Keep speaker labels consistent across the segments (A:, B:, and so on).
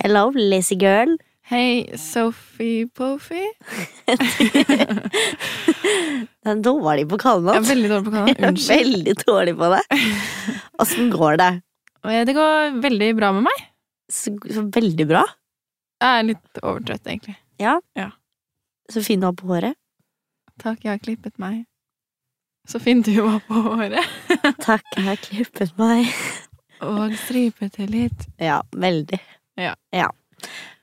A: Hello, lazy girl.
B: Hei, Sophie Pofi.
A: Det er dårlig på
B: Jeg er
A: kallenavn.
B: veldig dårlig på kanalen. Unnskyld.
A: Veldig dårlig på det. Åssen går det?
B: Eh, Det går veldig bra med meg.
A: Så, så veldig bra.
B: Jeg er litt overtrøtt, egentlig.
A: Så fin du har på håret.
B: Takk, jeg har klippet meg. Så fin du var på håret.
A: Takk, jeg har klippet meg.
B: Og stripet det litt.
A: Ja, veldig.
B: Ja.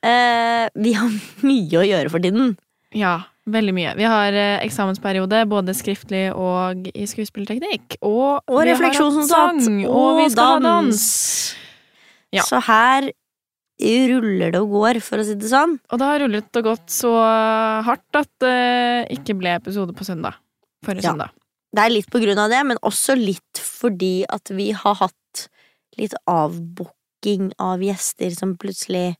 A: Eh, vi har mye å gjøre for tiden.
B: Ja, veldig mye. Vi har eh, eksamensperiode, både skriftlig og i skuespillerteknikk. Og,
A: Og
B: vi har
A: refleksjon, som
B: hatt
A: sagt.
B: sang, og vi skal ha dans. Ja.
A: Så her ruller det og går, for å si det sånn.
B: Og det har rullet og gått så hardt at det ikke ble episode på søndag. Forrige
A: Ja.
B: søndag.
A: Det er litt på grunn av det, men også litt fordi at vi har hatt litt avbooking av gjester som plutselig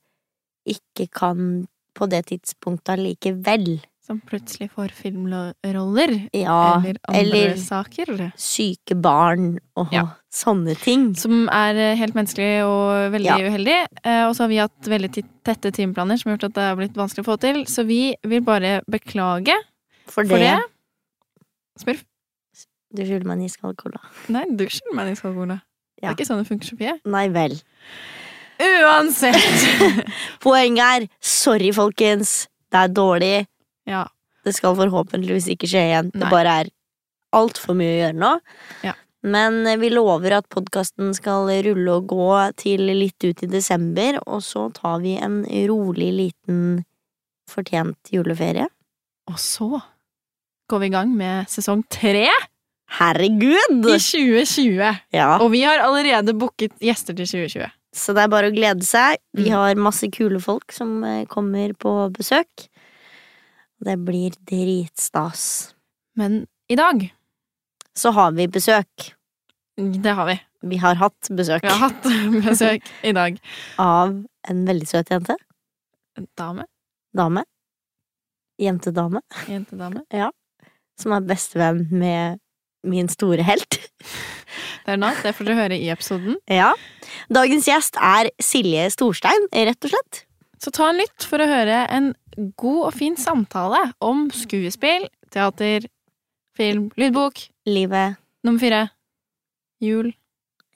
A: ikke kan på det tidspunktet allikevel.
B: Som plutselig får filmroller.
A: Ja,
B: eller andre
A: eller
B: saker.
A: syke barn og
B: Ja.
A: sånne ting.
B: Som er eh, helt menneskelig og veldig
A: Ja.
B: uheldig. Eh, Og så har vi hatt veldig ti- tette timeplaner som har gjort at det har blitt vanskelig å få til. Så vi vil bare beklage
A: For det,
B: for det. Smurf.
A: Du skylder meg en iskald cola.
B: Nei, du skylder meg en iskald cola. Det
A: Ja.
B: er ikke sånn det funker, Sofie.
A: Nei vel.
B: Uansett!
A: Poenget er sorry, folkens. Det er dårlig.
B: ja.
A: Det skal forhåpentligvis ikke skje igjen. Det
B: Nei.
A: bare er altfor mye å gjøre nå.
B: Ja.
A: Men eh, vi lover at podkasten skal rulle og gå til litt ut i desember, og så tar vi en rolig liten fortjent juleferie.
B: Og så går vi i gang med sesong tre
A: Herregud!
B: i 2020.
A: Ja,
B: Og vi har allerede booket gjester til 2020.
A: Så det er bare å glede seg. Vi
B: Mm.
A: har masse kule folk som eh, kommer på besøk. Det blir dritstas.
B: Men i dag,
A: Så har vi besøk.
B: det har vi.
A: Vi har hatt besøk
B: Vi har hatt besøk i dag.
A: av en veldig søt jente.
B: En Dame.
A: dame. Jentedame.
B: Jentedame.
A: Som er bestevenn med min store helt.
B: Det er natt, det får dere høre i episoden.
A: Ja. Dagens gjest er Silje Storstein, rett og slett.
B: Så ta en lytt for å høre en god og fin samtale om skuespill, teater, film, lydbok,
A: Livet.
B: nummer fire, jul.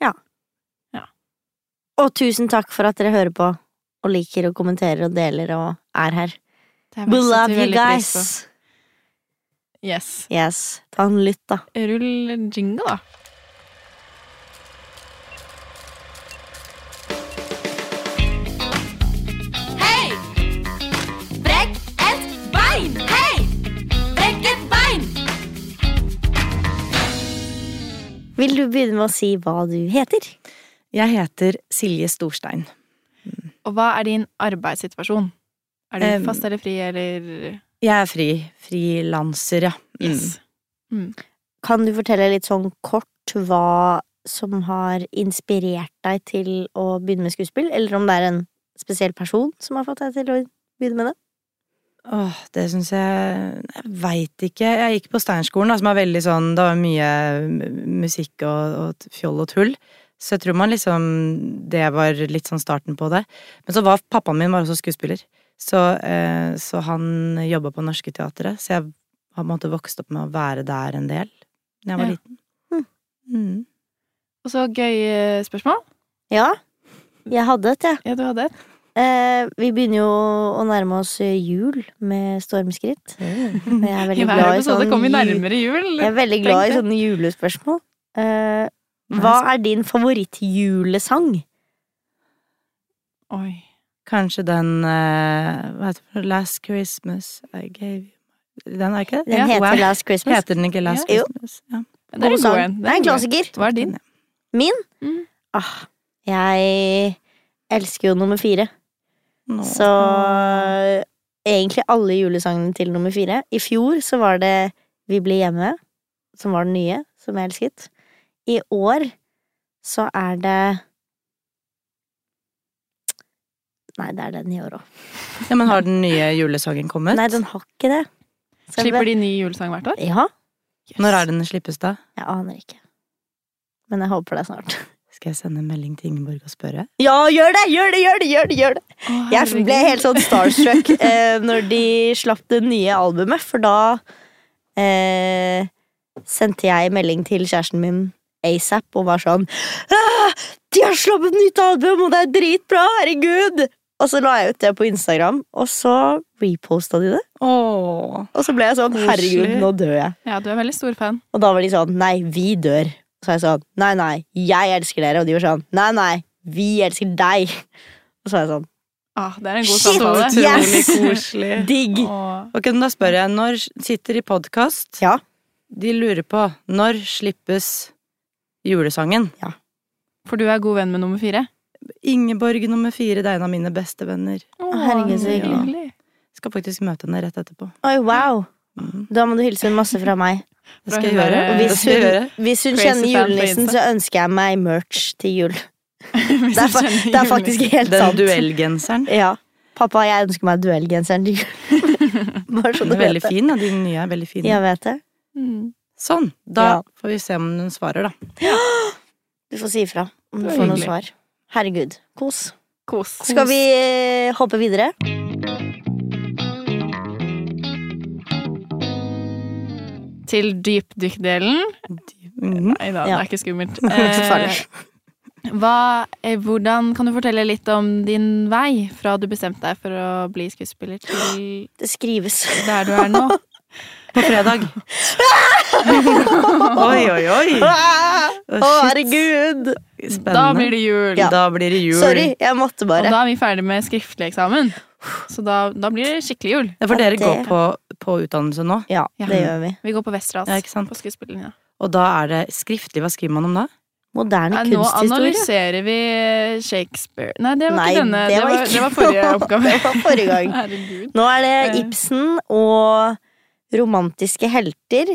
A: Og tusen takk for at dere hører på og liker og kommenterer og deler og er her.
B: Det er
A: We
B: bare å sette
A: love you
B: veldig pris på.
A: guys!
B: Yes.
A: Yes. Ta en lytt, da.
B: Rull jingle, da.
C: Hei! Brekk et bein! Hei! Brekk et bein!
A: Vil du begynne med å si hva du heter?
D: Jeg heter Silje Storstein.
B: Og hva er din arbeidssituasjon? Er du
D: Em,
B: fast eller fri, eller
D: Jeg er fri. Frilanser, ja. Mm.
B: Yes.
A: Kan du fortelle litt sånn kort hva som har inspirert deg til å begynne med skuespill, eller om det er en spesiell person som har fått deg til å begynne med det?
D: Åh, det syns jeg Jeg veit ikke. Jeg gikk på Steinerskolen, da, som er veldig sånn Det var mye m- musikk og, og fjoll og tull. Så jeg tror man liksom Det var litt sånn starten på det. Men så var pappaen min var også skuespiller. Så, eh, så han jobba på Norske Teatret. Så jeg har på en måte vokst opp med å være der en del da jeg var
B: Ja.
A: Hm.
D: liten. Mm.
B: Og så gøy eh, spørsmål.
A: Ja, jeg hadde et, jeg.
B: Ja, du hadde et.
A: Eh, vi begynner jo å nærme oss eh, jul med stormskritt. Og Jeg er
B: I
A: veldig
B: hver
A: glad i
B: episode
A: sånn
B: kom vi
A: ju-
B: nærmere jul.
A: Jeg er veldig glad i sånne julespørsmål. Eh, hva er din favorittjulesang?
B: Oi.
D: Kanskje den eh, Hva heter den? Last Christmas I gave you Den er ikke det?
A: Den
B: Ja.
A: heter
D: Wow.
A: Last Christmas.
D: Heter den ikke Last
A: Ja. Jo.
D: Christmas? Ja.
B: Det er
A: God
B: en
A: sang.
B: god en.
A: Det er en klassiker.
B: Hva er din?
A: Min?
B: Mm.
A: Ah, jeg elsker jo nummer fire.
D: Nå.
A: Så egentlig alle julesangene til nummer fire. I fjor så var det Vi blir hjemme, som var den nye, som jeg elsket. I år så er det Nei, det er den i år òg.
D: Ja, men har den nye julesangen kommet?
A: Nei, den har ikke det. Skal
B: Slipper
A: vi-
B: de ny julesang hvert år?
A: Ja,
D: Når er den slippes, da?
A: jeg aner ikke. Men jeg håper det er snart.
D: Skal jeg sende en melding til Ingeborg og spørre?
A: Ja, gjør det! Gjør det, gjør det, gjør det! gjør det Jeg ble helt sånn starstruck eh, når de slapp det nye albumet, for da eh, sendte jeg melding til kjæresten min ASAP og var sånn «Ah, De har sluppet nytt album, og det er dritbra! Herregud! Og så la jeg ut det på Instagram, og så reposta de det.
D: Åh.
A: Og så ble jeg sånn Herregud,
D: Koselig.
A: nå dør jeg.
B: Ja, du er veldig stor fan.
A: Og da var de sånn Nei, vi dør. Og så var jeg sånn Nei, nei, jeg elsker dere. Og de var sånn Nei, nei, vi elsker deg. Og så var jeg sånn
B: Ah, det er en god
A: Shit,
B: samtale.
A: yes!
D: koselig.
A: Digg!
B: Og
D: Ok, men da spør jeg, når sitter i podcast
A: Ja.
D: De lurer på, når slippes julesangen?
B: For du er god venn med nummer fire.
D: Ingeborg nummer fire, det er en av mine beste venner
B: Å,
A: herregud, så
B: ja.
D: hyggelig. Skal faktisk møte henne rett etterpå
A: Oi, wow.
D: Mhm.
A: Da må du hilse masse fra meg.
D: Det skal
B: Fra hun
D: jeg gjøre
B: der,
A: Og
B: eh,
D: Det
A: hvis hun, hvis hun
D: skal jeg gjøre
B: Crazy
A: kjenner
B: fan på
A: julenissen,
B: Insta.
A: så ønsker jeg meg merch til jul.
B: Hvis
A: Det er,
B: du
A: fa
B: kjenner
A: det er
B: julen.
A: faktisk helt
D: Den
A: sant.
D: duellgenseren
A: Ja. Pappa, jeg ønsker meg duellgenseren til jul. Bare så
D: Den
A: du
D: er veldig
A: vet det.
D: fin, ja, de nye er veldig fine
A: Jeg vet det.
B: Mm.
D: Sånn, da
A: Ja.
D: får vi se om hun svarer da
A: Du får si ifra om du
B: Det er
A: får noe
B: hyggelig.
A: svar. Herregud. Kos.
B: Kos.
A: Skal vi eh, hoppe videre?
B: Til dypdykkdelen.
D: Mhm.
B: Nei da, det
A: Ja.
B: er ikke skummelt. Eh,
A: Så farlig.
B: hva, eh, hvordan Kan du fortelle litt om din vei fra du bestemte deg for å bli skuespiller, til
A: Det skrives.
B: der du er nå?
D: På fredag Oi, oi, oi
A: Å,
D: Å,
A: Ah! herregud!
D: Spennende
B: Da blir det jul!
D: Da blir det jul
A: Sorry, jeg måtte
B: Og
A: bare.
B: da er vi ferdig med skriftlig eksamen. Så da, da blir det skikkelig jul.
D: Ja, for
A: Ja,
D: dere
A: det-
D: går på, på utdannelse nå
A: Ja,
B: Ja.
A: det gjør vi.
B: Vi går på Vesterålen.
D: Ja, ikke sant?
B: På skuespillerlinja.
D: Og da er det skriftlig, hva skriver man om da?
A: Moderne
B: Ja, nå
A: kunsthistorie.
B: analyserer vi eh, Shakespeare Nei, det var
A: Nei,
B: ikke denne.
A: det var
B: var,
A: ikke-
B: det var forrige oppgave.
A: Det var forrige gang.
B: Herregud.
A: Nå er
B: Eh.
A: det Ibsen og romantiske helter,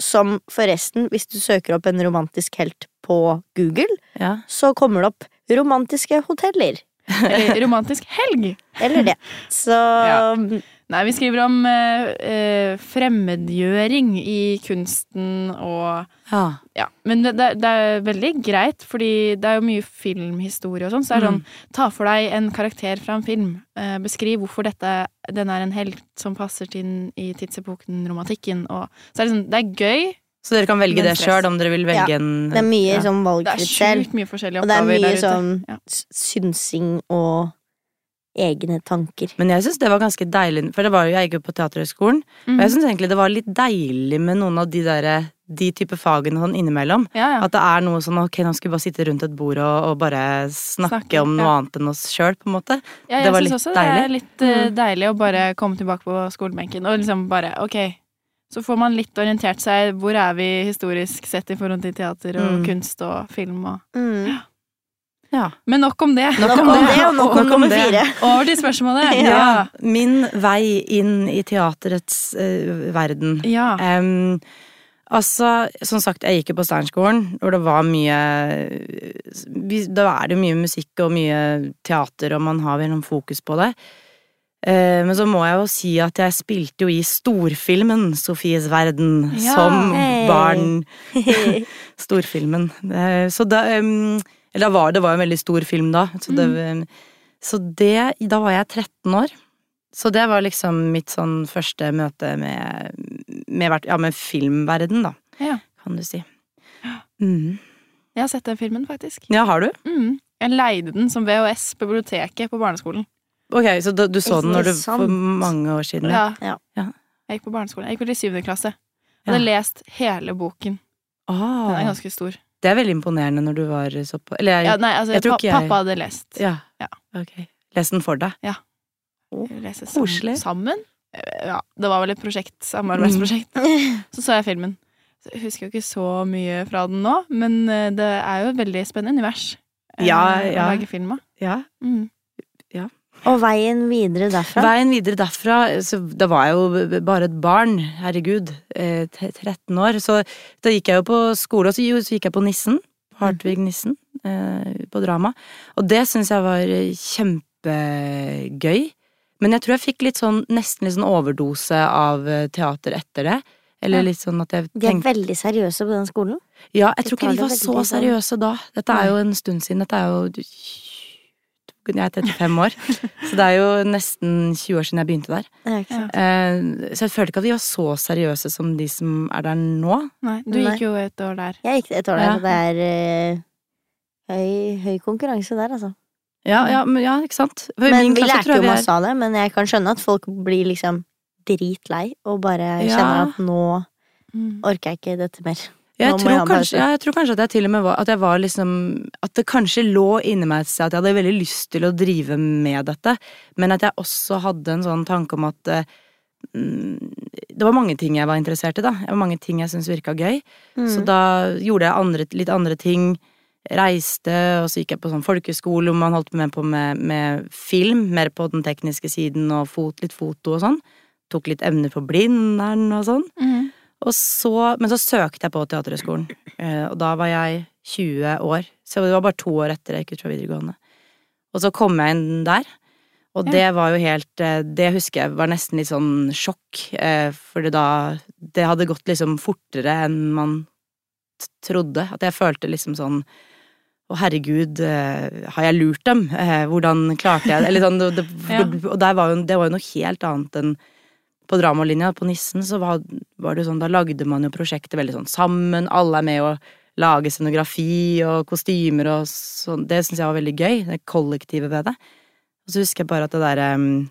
A: som forresten, hvis du søker opp en romantisk helt på Google,
D: Ja.
A: så kommer det opp romantiske hoteller.
B: Eller Eh, romantisk helg.
A: Eller det. Så
B: Ja. Nei, vi skriver om eh, eh, fremmedgjøring i kunsten og
D: ja.
B: Ja. Men det, det, er- det er veldig greit, fordi det er jo mye filmhistorie og sånn, så det er
A: Mm.
B: sånn Ta for deg en karakter fra en film. Eh, beskriv hvorfor dette, den er en helt som passer til den i tidsepoken romantikken. Og, så er det, sånn, det er gøy.
D: Så dere kan velge
B: Men
D: det
B: stress.
D: sjøl, om dere vil velge en
A: det er mye
D: ja.
A: sånn
B: Det er
A: valgfritt selv.
B: sjukt mye forskjellige
A: Og det er
B: oppgaver
A: mye
B: der ute.
A: sånn
B: Ja.
A: s- synsing og egne tanker.
D: Men jeg syns det var ganske deilig, for det var jo, jeg gikk jo på Teaterhøgskolen, og
B: Mhm.
D: jeg syns egentlig det var litt deilig med noen av de derre de type fagene sånn innimellom.
B: ja, ja.
D: At det er noe sånn ok, nå skal vi bare sitte rundt et bord og, og bare snakke,
B: Snakke,
D: om noe
B: ja.
D: annet enn oss sjøl, på en måte.
B: ja, jeg
D: det var
B: synes
D: litt Mm.
B: også det er litt eh, deilig å bare komme tilbake på skolebenken og liksom bare ok. Så får man litt orientert seg. Hvor er vi historisk sett i forhold til teater og
D: Mm.
B: kunst og film og
A: Mm.
D: Ja.
B: Men nok om det.
A: Nok om det, og nok om
D: Nok om
A: nummer
D: det.
A: fire.
B: Over til spørsmålet.
D: ja. Min vei inn i teaterets eh, verden.
B: Ja.
D: Em, altså, som sagt, jeg gikk jo på Steinskolen, hvor det var mye vi- Da er det jo mye musikk og mye teater, og man har vel noen fokus på det. Eh, men så må jeg jo si at jeg spilte jo i storfilmen Sofies verden
B: Ja,
D: som
A: hey.
D: barn. Storfilmen. Eh, så da em, Eller da var det var jo en veldig stor film da. Så
B: Mm.
D: det, så det Da var jeg 13 år. Så det var liksom mitt sånn første møte med, med, hvert- ja, med filmverden, da,
B: Ja.
D: kan du si. Mm.
B: Jeg har sett den filmen, faktisk.
D: Ja, har du?
B: Mm. Jeg leide den som VHS på biblioteket på barneskolen.
D: Ok, så da, du
A: Ikke
D: så den når du,
A: sant.
D: for mange år siden?
B: Ja.
A: Ja.
D: Ja.
B: Jeg gikk på barneskolen. Jeg gikk vel i syvende klasse. Jeg
D: Ja.
B: hadde lest hele boken. Den er
D: Ah,
B: ganske stor.
D: det er veldig imponerende når du var såpass Eller jeg,
B: Ja, nei, altså,
D: jeg tror
B: pa
D: ikke jeg-
B: pappa hadde lest.
D: ja.
B: Ja.
D: Ok. Les den for deg.
B: Vi leste sam-
D: Koselig.
B: Sammen? Eh, Ja, det var vel et prosjekt, samarbeidsprosjekt.
D: Mm.
B: Så så jeg filmen. Så Jeg husker jo ikke så mye fra den nå, men eh, det er jo et veldig spennende univers eh,
D: Ja, ja.
B: å lage film av.
D: Ja.
B: Mm.
A: Og veien videre derfra.
D: Veien videre derfra så Da var jeg jo b- bare et barn, herregud. eh, t- 13 år. Så da gikk jeg jo på skole, og så jo, så gikk jeg på Nissen. på Hartvig Nissen. eh, På drama. Og det syns jeg var eh, kjempegøy. Men jeg tror jeg fikk litt sånn, nesten litt sånn overdose av eh, teater etter det. Eller
B: Ja.
D: litt sånn at jeg
A: De er
D: tenkte
A: veldig seriøse på den skolen.
D: Ja, jeg
A: de
D: tror
A: tar
D: ikke de
A: det
D: var
A: veldig
D: så
A: sånn-
D: seriøse da. Dette er jo en stund siden. Dette er jo Jeg er 35 år, så det er jo nesten 20 år siden jeg begynte der.
A: Det er ikke sant.
D: Eh, Så jeg følte ikke at vi var så seriøse som de som er der nå.
B: Nei, du
A: Nei.
B: gikk jo et år der.
A: Jeg gikk et år der,
D: Ja.
A: og det er eh, høy, høy konkurranse der, altså.
D: Ja, ja, men, ja ikke sant? For i
A: Men
D: min
A: vi lærte
D: klasse tror jeg
A: jo
D: vi er-
A: masse av det, men jeg kan skjønne at folk blir liksom dritlei og bare
D: Ja.
A: kjenner at nå
B: Mm.
A: orker jeg ikke dette mer.
D: Jeg
A: Nå må jeg
D: tror,
A: ha en pause.
D: kanskje, ja, jeg tror kanskje at jeg til og med var At jeg var liksom At det kanskje lå inni meg et sted at jeg hadde veldig lyst til å drive med dette, men at jeg også hadde en sånn tanke om at eh, mm, Det var mange ting jeg var interessert i, da. Det var mange ting jeg syntes virka gøy.
A: Mm.
D: Så da gjorde jeg andre, litt andre ting. Reiste, og så gikk jeg på sånn folkeskole hvor man holdt med på med, med film. Mer på den tekniske siden og fot, litt foto og sånn. Tok litt emner på Blindern og sånn.
B: Mm.
D: Og så, men så søkte jeg på Teaterhøgskolen, eh, og da var jeg 20 år. Så det var bare to år etter jeg gikk ut fra videregående. Og så kom jeg inn der, og
B: Ja.
D: det var jo helt eh, Det husker jeg var nesten litt sånn sjokk, eh, for det da Det hadde gått liksom fortere enn man t- trodde. At jeg følte liksom sånn å, herregud, eh, har jeg lurt dem? Eh, hvordan klarte jeg det? Eller sånn, det, det,
B: Ja.
D: Og der var jo, det var jo noe helt annet enn på dramalinja, på Nissen, så var, var det jo sånn, da lagde man jo prosjektet veldig sånn sammen, alle er med å lage scenografi og kostymer og sånn, det synes jeg var veldig gøy, det kollektivet ved det. Og så husker jeg bare at det der, em,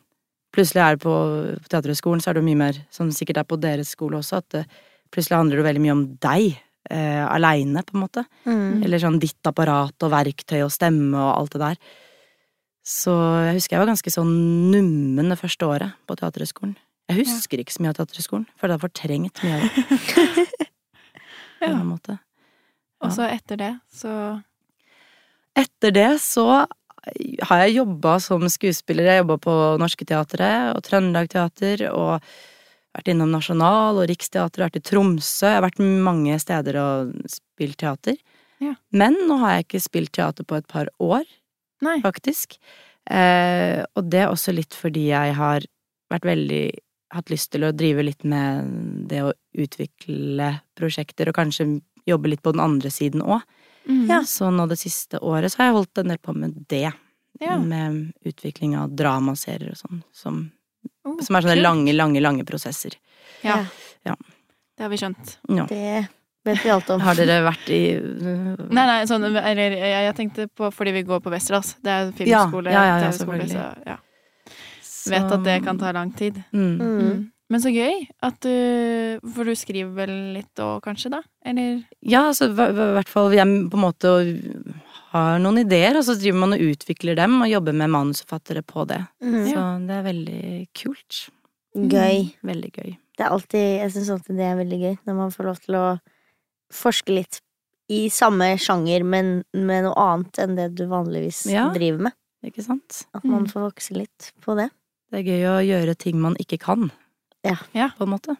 D: plutselig er det på, på teaterhøgskolen, så er det jo mye mer, som sikkert er på deres skole også, at det, plutselig handler det veldig mye om deg, eh, alene på en måte.
A: Mm.
D: Eller sånn ditt apparat og verktøy og stemme og alt det der. Så jeg husker jeg var ganske sånn nummen det første året på Teaterhøgskolen. Jeg husker ikke så mye av Teaterhøgskolen, for det har fortrengt mye av det. på en
B: Ja.
D: eller annen måte.
B: Og så etter det, så
D: Etter det så har jeg jobba som skuespiller. Jeg jobba på Norske Teatret og Trøndelag Teater og vært innom Nasjonal og Riksteatret, vært i Tromsø. Jeg har vært mange steder og spilt teater.
B: Ja.
D: Men nå har jeg ikke spilt teater på et par år.
B: Nei.
D: faktisk. Eh, og det er også litt fordi jeg har vært veldig Hatt lyst til å drive litt med det å utvikle prosjekter, og kanskje jobbe litt på den andre siden òg.
B: Mm.
A: Ja.
D: Så nå det siste året så har jeg holdt en del på med det.
B: Ja.
D: Med utvikling av dramaserier og sånn. Som,
B: Oh,
D: som er sånne
B: kult.
D: lange, lange, lange prosesser.
B: Ja.
D: Ja.
B: Det har vi skjønt.
D: Ja.
A: Det vet vi alt om.
D: Har dere vært i Mm.
B: Nei, nei, sånn, eller jeg, jeg tenkte på fordi vi går på Westerdals. Det er jo filmskole,
D: Ja, ja, ja, ja,
B: TV-skole, så
D: selvfølgelig.
B: ja. vet at det kan ta lang tid.
D: mm.
A: Mm.
B: Men så gøy at du For du skriver vel litt òg, kanskje, da? Eller
D: Ja, altså i hvert fall jeg på en måte og har noen ideer, og så driver man og utvikler dem og jobber med manusforfattere på det.
A: Mm.
D: Så det er veldig kult.
A: Gøy.
D: Veldig gøy.
A: Det er alltid, jeg syns alltid det er veldig gøy når man får lov til å forske litt i samme sjanger, men med noe annet enn det du vanligvis
D: Ja.
A: driver med.
D: Ikke sant?
A: At man
B: Mm.
A: får vokse litt på det.
D: Det er gøy å gjøre ting man ikke kan.
A: Ja.
B: Ja.
D: På en måte.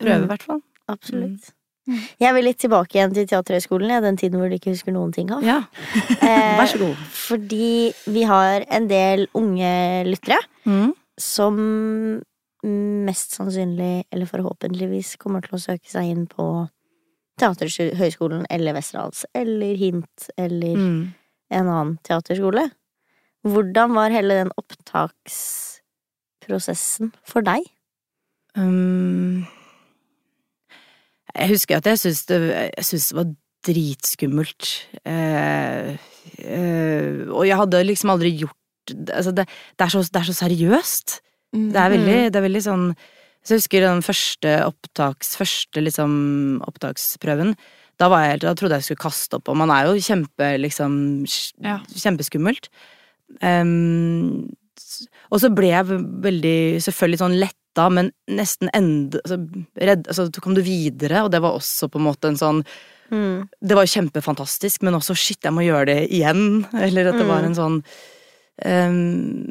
D: Prøve,
A: Mm.
D: i hvert fall.
A: Absolutt.
B: Mm.
A: Jeg vil litt tilbake igjen til Teaterhøgskolen, ja, den tiden hvor du ikke husker noen ting av. Eh,
D: Ja,
B: Eh,
D: vær så god.
A: fordi vi har en del unge lyttere
D: Mm.
A: som mest sannsynlig, eller forhåpentligvis, kommer til å søke seg inn på Teaterhøgskolen eller Westerdals eller Hint eller
D: Mm.
A: en annen teaterskole. Hvordan var hele den opptaksprosessen for deg?
D: Um, jeg husker at jeg syntes det, jeg syntes det var dritskummelt. Eh, eh, og jeg hadde liksom aldri gjort altså det, det, er så, det er så seriøst. Det er
B: Mm.
D: veldig, det er veldig sånn Så jeg husker den første opptaks Første liksom opptaksprøven Da var jeg helt Da trodde jeg skulle kaste opp Og man er jo kjempe liksom sj-
B: Ja.
D: Kjempeskummelt Ehm, s- Og så ble jeg v- veldig Selvfølgelig sånn letta Men nesten enda altså, redd, altså, Så kom du videre Og det var også på en måte en sånn det var jo kjempefantastisk, men også shit, jeg må gjøre det igjen. Eller at
A: Mm.
D: det var en sånn ehm,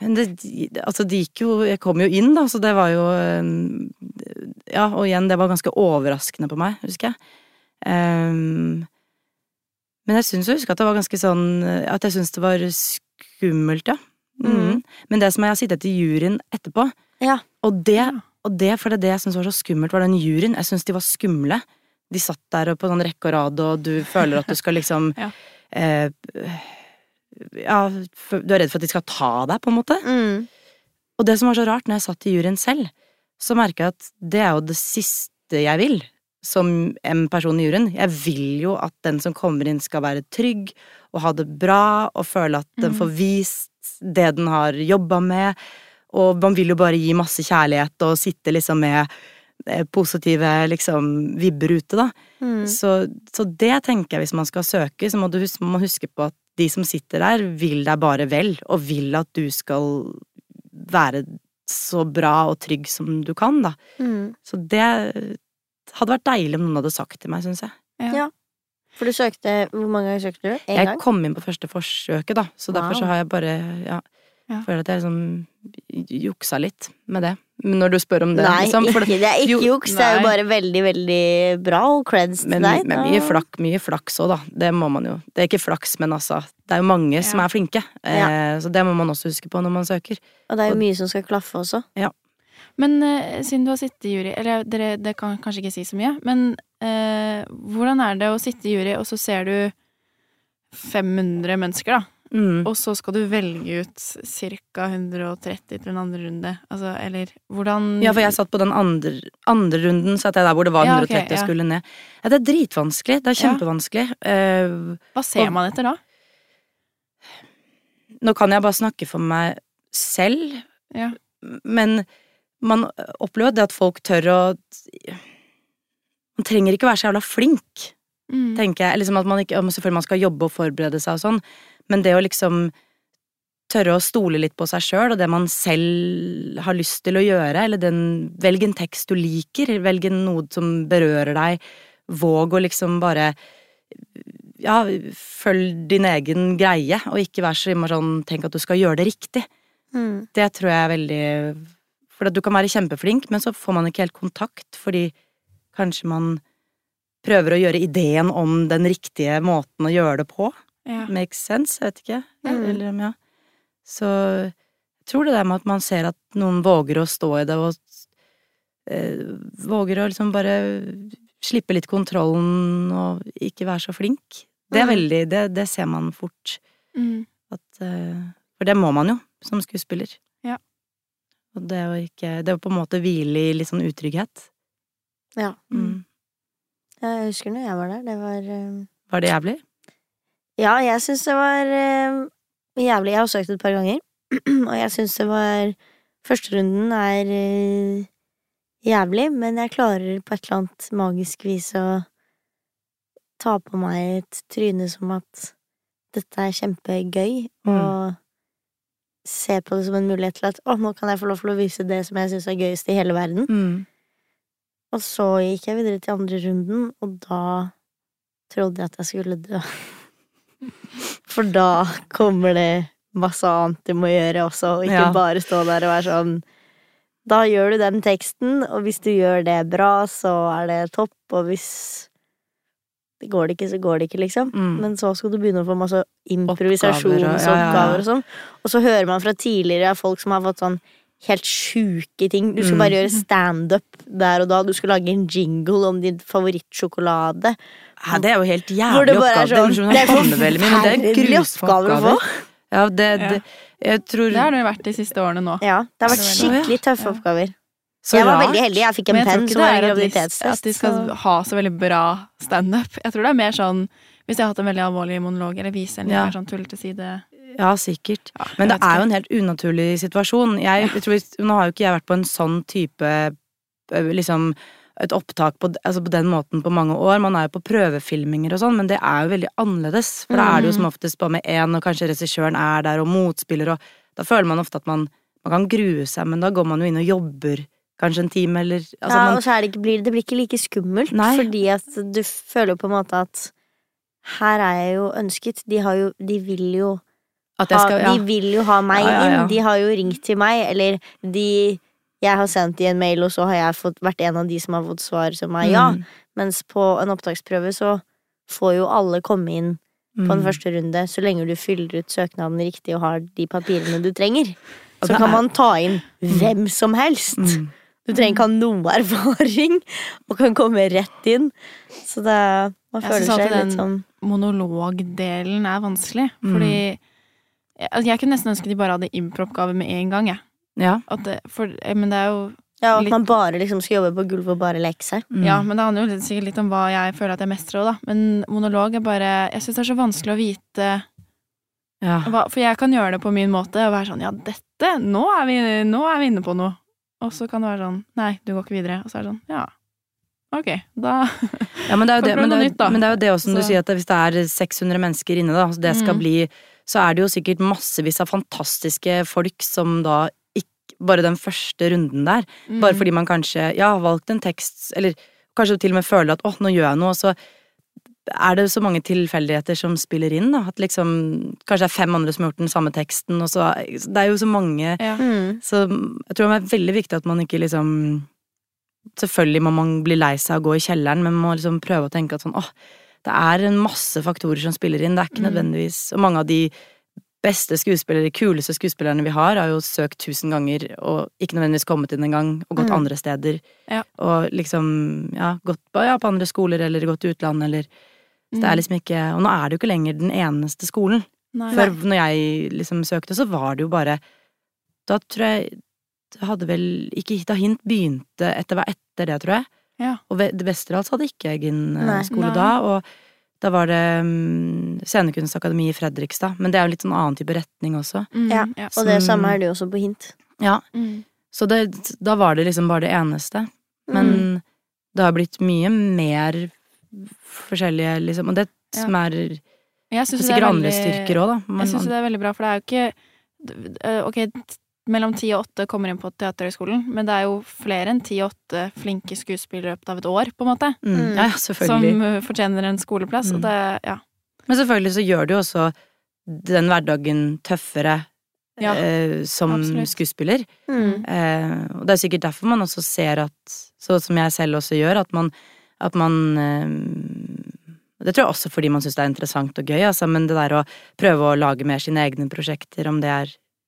D: Men det Altså, det gikk jo Jeg kom jo inn, da, så det var jo ehm, Ja, og igjen, det var ganske overraskende på meg, husker jeg. Ehm, men jeg syns jeg husker at det var ganske sånn At jeg syns det var skummelt, ja. Mm.
A: Mm.
D: Men det som jeg har sittet i juryen etterpå,
A: Ja.
D: og det
B: Ja.
D: og det, for det, er det jeg syntes var så skummelt, var den juryen. Jeg syntes de var skumle. De satt der og på sånn rekke og rad, og du føler at du skal liksom
B: Ja.
D: eh, ja, for, Du er redd for at de skal ta deg, på en måte.
A: Mm.
D: Og det som var så rart, når jeg satt i juryen selv, så merka jeg at det er jo det siste jeg vil som en person i juryen. Jeg vil jo at den som kommer inn, skal være trygg og ha det bra og føle at den
B: Mm.
D: får vist det den har jobba med. Og man vil jo bare gi masse kjærlighet og sitte liksom med eh, positive liksom, vibber ute, da.
A: Mm.
D: Så, så det tenker jeg, hvis man skal søke, så må du huske, må man huske på at de som sitter der, vil deg bare vel, og vil at du skal være så bra og trygg som du kan, da.
A: Mm.
D: Så det hadde vært deilig om noen hadde sagt til meg, syns jeg.
A: For du søkte Hvor mange ganger søkte du? En
D: Jeg
A: gang?
D: kom inn på første forsøket, da, så derfor
A: Wow.
D: så har jeg bare ja,
B: Ja.
D: Føler at jeg liksom juksa litt med det. Men Når du spør om det,
A: Nei,
D: liksom. For det,
A: ikke, det er ikke
D: Jo,
A: juks. Det er jo
B: nei.
A: bare veldig, veldig bra, og creds til
D: Men,
A: deg.
D: men
A: da.
D: mye, flak, mye flaks òg, da. Det må man jo. Det er ikke flaks, men altså. Det er jo mange som
B: Ja.
D: er flinke, eh, så det må man også huske på når man søker.
A: Og det er jo mye som skal klaffe også.
B: Men eh, siden du har sittet i jury, eller dere, det kan kanskje ikke si så mye, men eh, hvordan er det å sitte i jury, og så ser du 500 mennesker, da,
D: Mm.
B: og så skal du velge ut ca. 130 til en andre runde? Altså, eller hvordan
D: Ja, for jeg satt på den andre, andre runden, satt jeg der hvor det var
B: Ja, ok,
D: 130 og
B: ja. skulle
D: skulle ned. Ja, det er dritvanskelig. Det er
B: Ja.
D: kjempevanskelig. Eh,
B: Hva ser man etter da?
D: nå kan jeg bare snakke for meg selv,
B: Ja.
D: men man opplever det at folk tør å Man trenger ikke være så jævla flink.
B: Mm.
D: tenker jeg. Liksom at man ikke, om selvfølgelig man skal jobbe og forberede seg og sånn, men det å liksom tørre å stole litt på seg sjøl og det man selv har lyst til å gjøre, eller den Velg en tekst du liker, velg en noe som berører deg. Våg å liksom bare Ja, følg din egen greie, og ikke vær så innmari sånn Tenk at du skal gjøre det riktig.
A: Mm.
D: Det tror jeg er veldig For at du kan være kjempeflink, men så får man ikke helt kontakt, fordi kanskje man prøver å gjøre ideen om den riktige måten å gjøre det på.
B: Ja.
D: Makes sense, jeg vet ikke. Ja,
A: Mm.
D: Eller om ja. Så jeg tror det der med at man ser at noen våger å stå i det, og eh, våger å liksom bare slippe litt kontrollen og ikke være så flink, det er
A: Mm.
D: veldig Det, det ser man fort.
B: Mm.
D: At, eh, for det må man jo, som skuespiller.
B: Ja.
D: Og det å ikke Det å på en måte hvile i litt sånn utrygghet.
A: Ja.
D: Mm.
A: Jeg husker når jeg var der. Det var eh,
D: Var det jævlig?
A: Ja, jeg syns det var eh, jævlig. Jeg har søkt et par ganger, og jeg syns det var Førsterunden er eh, jævlig, men jeg klarer på et eller annet magisk vis å ta på meg et tryne som at dette er kjempegøy, og se på det som en mulighet til at å, nå kan jeg få lov til å vise det som jeg syns er gøyest i hele verden.
D: Mm.
A: Og så gikk jeg videre til andre runden, og da trodde jeg at jeg skulle dø. For da kommer det masse annet du må gjøre også, og ikke
D: Ja.
A: bare stå der og være sånn Da gjør du den teksten, og hvis du gjør det bra, så er det topp, og hvis det går det ikke, så går det ikke, liksom.
D: Mm.
A: Men så skal du begynne å få masse
D: Oppgaver og- ja, ja, ja.
A: improvisasjonsoppgaver og sånn. Og så hører man fra tidligere av folk som har fått sånn helt sjuke ting. Du skal
D: Mm.
A: bare gjøre standup der og da. Du skal lage en jingle om din favorittsjokolade.
D: Ja, det er jo helt
A: Hvor
D: jævlig
A: det bare er
D: oppgave.
A: sånn
D: det er forferdelig mye, men det er
A: forferdelige
D: grusomme
A: oppgaver å få.
D: oppgaver. Ja, det, det, jeg tror
B: Det har det jo vært de siste årene nå.
A: Ja, det har vært
B: Så
D: veldig-
A: skikkelig tøffe
B: Ja.
A: oppgaver.
D: Så
A: jeg var
D: rart.
A: veldig heldig. Jeg fikk en
B: Men jeg tror
A: penn
B: ikke
A: som
B: det
A: var en
B: er at de, at
A: graviditetstest.
B: de skal
A: så-
B: ha så veldig bra standup. Jeg tror det er mer sånn hvis jeg har hatt en veldig alvorlig monolog eller vise eller
D: Ja.
B: noe sånn tullete side.
D: Ja, sikkert.
B: Ja, jeg
D: Men det
B: vet
D: er jo
B: ikke.
D: en helt unaturlig situasjon. Jeg, jeg tror, nå har jo ikke jeg vært på en sånn type ø, liksom et opptak på, d- altså på den måten på mange år. Man er jo på prøvefilminger og sånn, men det er jo veldig annerledes. For da er det jo
A: Mm.
D: som oftest bare med én, og kanskje regissøren er der, og motspiller, og da føler man ofte at man, man kan grue seg, men da går man jo inn og jobber kanskje en time, eller altså
A: ja,
D: man,
A: og så er det, ikke, blir, det blir ikke like skummelt,
D: Nei.
A: fordi at du føler jo på en måte at her er jeg jo ønsket. De, har jo, de vil jo
D: at
B: Ah,
D: jeg skal
A: ha,
D: ja.
A: De vil jo ha meg
D: Ja, ja, ja.
A: inn. De har jo ringt til meg, eller de Jeg har sendt de en mail, og så har jeg fått, vært en av de som har fått svar som er ja.
D: Mm.
A: Mens på en opptaksprøve så får jo alle komme inn på en
D: Mm.
A: første runde så lenge du fyller ut søknaden riktig og har de papirene du trenger.
D: Og
A: Så
D: det
A: kan
D: er-
A: man ta inn hvem som helst.
D: Mm.
A: Du trenger ikke ha noe erfaring, og kan komme rett inn. Så det, man
B: Jeg
A: føler
D: sånn
B: synes alltid
A: seg litt
B: den-
A: sånn
D: Mm.
B: Monologdelen er vanskelig, fordi Jeg, altså, jeg kunne nesten ønske de bare hadde improoppgave med en gang, jeg.
D: Ja.
B: At det, for, eh, men det er jo
A: Ja, og at
B: Litt-
A: man bare liksom skal jobbe på gulvet og bare leke seg.
D: Mm.
B: Ja, men det handler jo litt- sikkert litt om hva jeg føler at jeg mestrer òg, da. Men monolog er bare Jeg syns det er så vanskelig å vite
D: ja.
B: hva For jeg kan gjøre det på min måte og være sånn Ja, dette Nå er vi, nå er vi inne på noe. Og så kan det være sånn Nei, du går ikke videre. Og så er det sånn Ja. Ok, da
D: Ja, men det er jo
B: Får
D: det,
B: prøve
D: men det,
B: noe
D: er-
B: nytt, da.
D: men det er jo det også, som du
B: Så-
D: sier, at hvis det er 600 mennesker inne, da, så det skal
B: Mm.
D: bli Så er det jo sikkert massevis av fantastiske folk som da ikke Bare den første runden der. Bare
B: Mm.
D: fordi man kanskje ja, har valgt en tekst, eller kanskje til og med føler at 'å, nå gjør jeg noe', og så er det så mange tilfeldigheter som spiller inn, da. At liksom Kanskje det er fem andre som har gjort den samme teksten, og så Det er jo så mange
B: ja.
A: Mm.
D: så jeg tror det er veldig viktig at man ikke liksom Selvfølgelig må man bli lei seg og gå i kjelleren, men man må liksom prøve å tenke at sånn åh, det er en masse faktorer som spiller inn. Det er ikke
B: Mm.
D: nødvendigvis Og mange av de beste skuespillere, kuleste skuespillerne vi har, har jo søkt tusen ganger og ikke nødvendigvis kommet inn engang, og gått
A: Mm.
D: andre steder.
B: Ja.
D: Og liksom, ja, gått på, ja, på andre skoler eller gått til utlandet eller Så det
B: Mm.
D: er liksom ikke Og nå er det jo ikke lenger den eneste skolen.
B: Nei.
D: Før, når jeg liksom søkte, så var det jo bare Da tror jeg det hadde vel ikke Da Hint begynte etter, var etter det, tror jeg.
B: Ja.
D: Og Ve- det Westerdals hadde ikke egen eh,
A: Nei.
D: skole
B: Nei.
D: da. Og da var det um, Scenekunstakademi i Fredrikstad. Men det er jo en litt sånn annen type retning også.
B: Mm,
A: Ja.
B: ja.
A: Og det
D: Som-
A: samme er det jo også på hint.
D: Ja,
B: Mm.
D: Så det, da var det liksom bare det eneste.
B: Mm.
D: Men det har blitt mye mer forskjellige, liksom. Og det
B: Ja.
D: som er det
B: Jeg
D: er
B: syns det er
D: sikkert andre
B: veldig-
D: styrker òg, da.
B: Jeg syns
D: Men,
B: det er veldig bra, for det er jo ikke d- eh, Ok, t- mellom ti og åtte kommer inn på Teaterhøgskolen, men det er jo flere enn ti og åtte flinke skuespillere i løpet av et år, på en måte,
D: mm, ja,
B: som
D: selvfølgelig.
B: eh, fortjener en skoleplass. Og
D: Mm.
B: det, ja.
D: Men selvfølgelig så gjør det jo også den hverdagen tøffere
B: Ja,
D: eh, som
B: absolutt.
D: skuespiller.
A: Mm.
D: Eh, og det er sikkert derfor man også ser at, sånn som jeg selv også gjør, at man, at man eh, Det tror jeg også fordi man syns det er interessant og gøy, altså, men det der å prøve å lage mer sine egne prosjekter, om det er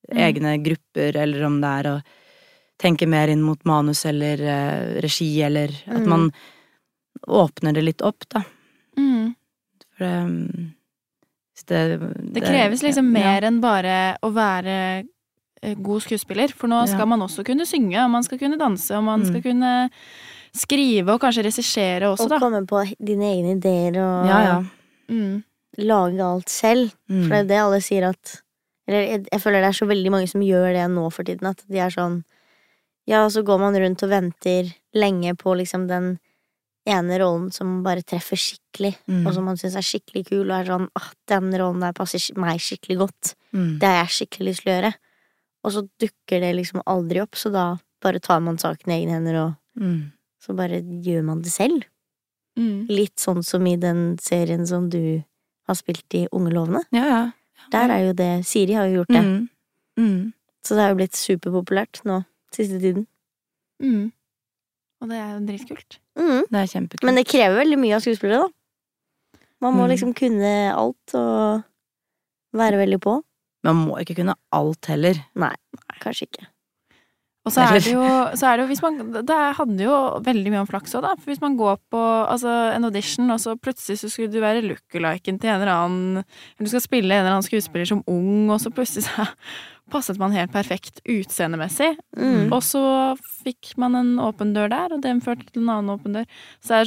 B: Mm.
D: egne grupper, eller om det er å tenke mer inn mot manus eller eh, regi, eller at
A: Mm.
D: man åpner det litt opp, da.
B: Mm.
D: For det, um, hvis det,
B: Det kreves liksom
D: ja.
B: mer enn bare å være eh, god skuespiller, for nå
D: Ja.
B: skal man også kunne synge, og man skal kunne danse, og man
D: Mm.
B: skal kunne skrive, og kanskje regissere også,
A: Og
B: da.
A: komme på dine egne ideer og
D: Ja, ja.
B: Mm.
A: lage alt selv. For det er
D: Mm.
A: det alle sier at Eller jeg, jeg føler det er så veldig mange som gjør det nå for tiden, at de er sånn Ja, og så går man rundt og venter lenge på liksom den ene rollen som bare treffer skikkelig,
D: Mm.
A: og som man syns er skikkelig kul, og er sånn Åh, den rollen der passer skik- meg skikkelig godt.
D: Mm.
A: Det har jeg skikkelig lyst til å gjøre. Og så dukker det liksom aldri opp, så da bare tar man saken i egne hender, og
D: Mm.
A: så bare gjør man det selv.
B: Mm.
A: Litt sånn som i den serien som du har spilt i Unge lovende.
D: Ja, ja.
A: Der er jo det Siri har jo gjort det.
D: Mm. Mm.
A: Så det har jo blitt superpopulært nå siste tiden.
B: Mm. Og det er jo dritkult.
A: Mm.
D: Det er kjempekult.
A: Men det krever veldig mye av skuespillere, da. Man må
D: Mm.
A: liksom kunne alt og være veldig på.
D: Man må ikke kunne alt heller.
A: Kanskje ikke.
B: Og så er
D: Eller-
B: det jo, så er det jo hvis man, Det handler jo veldig mye om flaks òg, da. For hvis man går på altså, en audition, og så plutselig så skulle du være lookaliken til en eller annen Eller du skal spille en eller annen skuespiller som ung, og så plutselig så passet man helt perfekt utseendemessig.
A: Mm.
B: Og så fikk man en åpen dør der, og den førte til en annen åpen dør. Så det er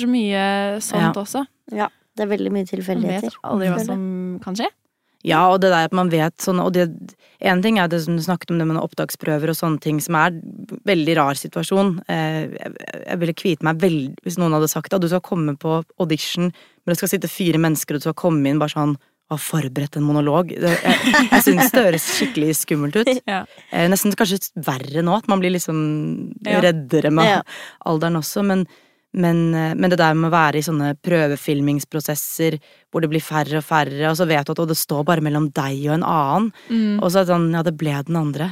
B: så mye sånt også.
A: Det er veldig mye
B: Man vet
A: tilfeldigheter.
B: aldri hva som kan skje.
D: Ja, og det der at man vet sånn Og det En ting er det som du snakket om, det med noen opptaksprøver og sånne ting, som er veldig rar situasjon. Eh, Jeg jeg ville kviet meg veldig hvis noen hadde sagt at du skal komme på audition, men det skal sitte fire mennesker, og du skal komme inn bare sånn og ha forberedt en monolog. Det, jeg jeg syns det høres skikkelig skummelt ut.
B: Ja.
D: Eh, nesten kanskje verre nå, at man blir liksom
B: Ja.
D: reddere med
A: Ja.
D: alderen også, men, men, eh, men det der med å være i sånne prøvefilmingsprosesser hvor det blir færre og færre, og så vet du at «Å, det står bare mellom deg og en annen,
B: Mm.
D: og så er det sånn ja, det ble den andre.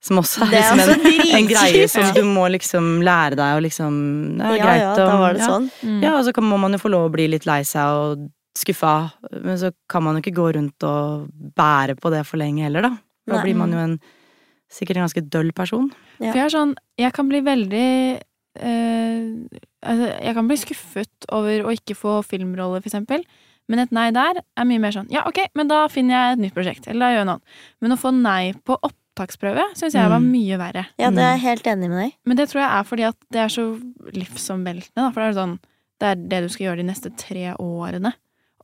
D: Som også er
A: Det er altså
D: liksom
A: også
D: en, en
A: dritkjipt.
D: greie som
B: Ja.
D: du må liksom lære deg å liksom Det er
A: Ja,
D: greit
A: ja,
D: å
A: da var det
D: ja.
A: sånn.
B: Mm.
D: Ja, og så kan, må man jo få lov å bli litt lei seg og skuffa, men så kan man jo ikke gå rundt og bære på det for lenge heller, da. Da
A: Nei.
D: blir man jo en sikkert en ganske døll person.
A: Ja.
B: For jeg er sånn Jeg kan bli veldig eh, altså, Jeg kan bli skuffet over å ikke få filmrolle, for eksempel. Men et nei der er mye mer sånn ja, ok, men da finner jeg et nytt prosjekt. Eller da gjør jeg noe annet. Men å få nei på opptaksprøve syns jeg var
D: Mm.
B: mye verre.
A: Ja, det er jeg helt enig med deg i.
B: Men det tror jeg er fordi at det er så livsomveltende, da. For det er sånn Det er det du skal gjøre de neste tre årene.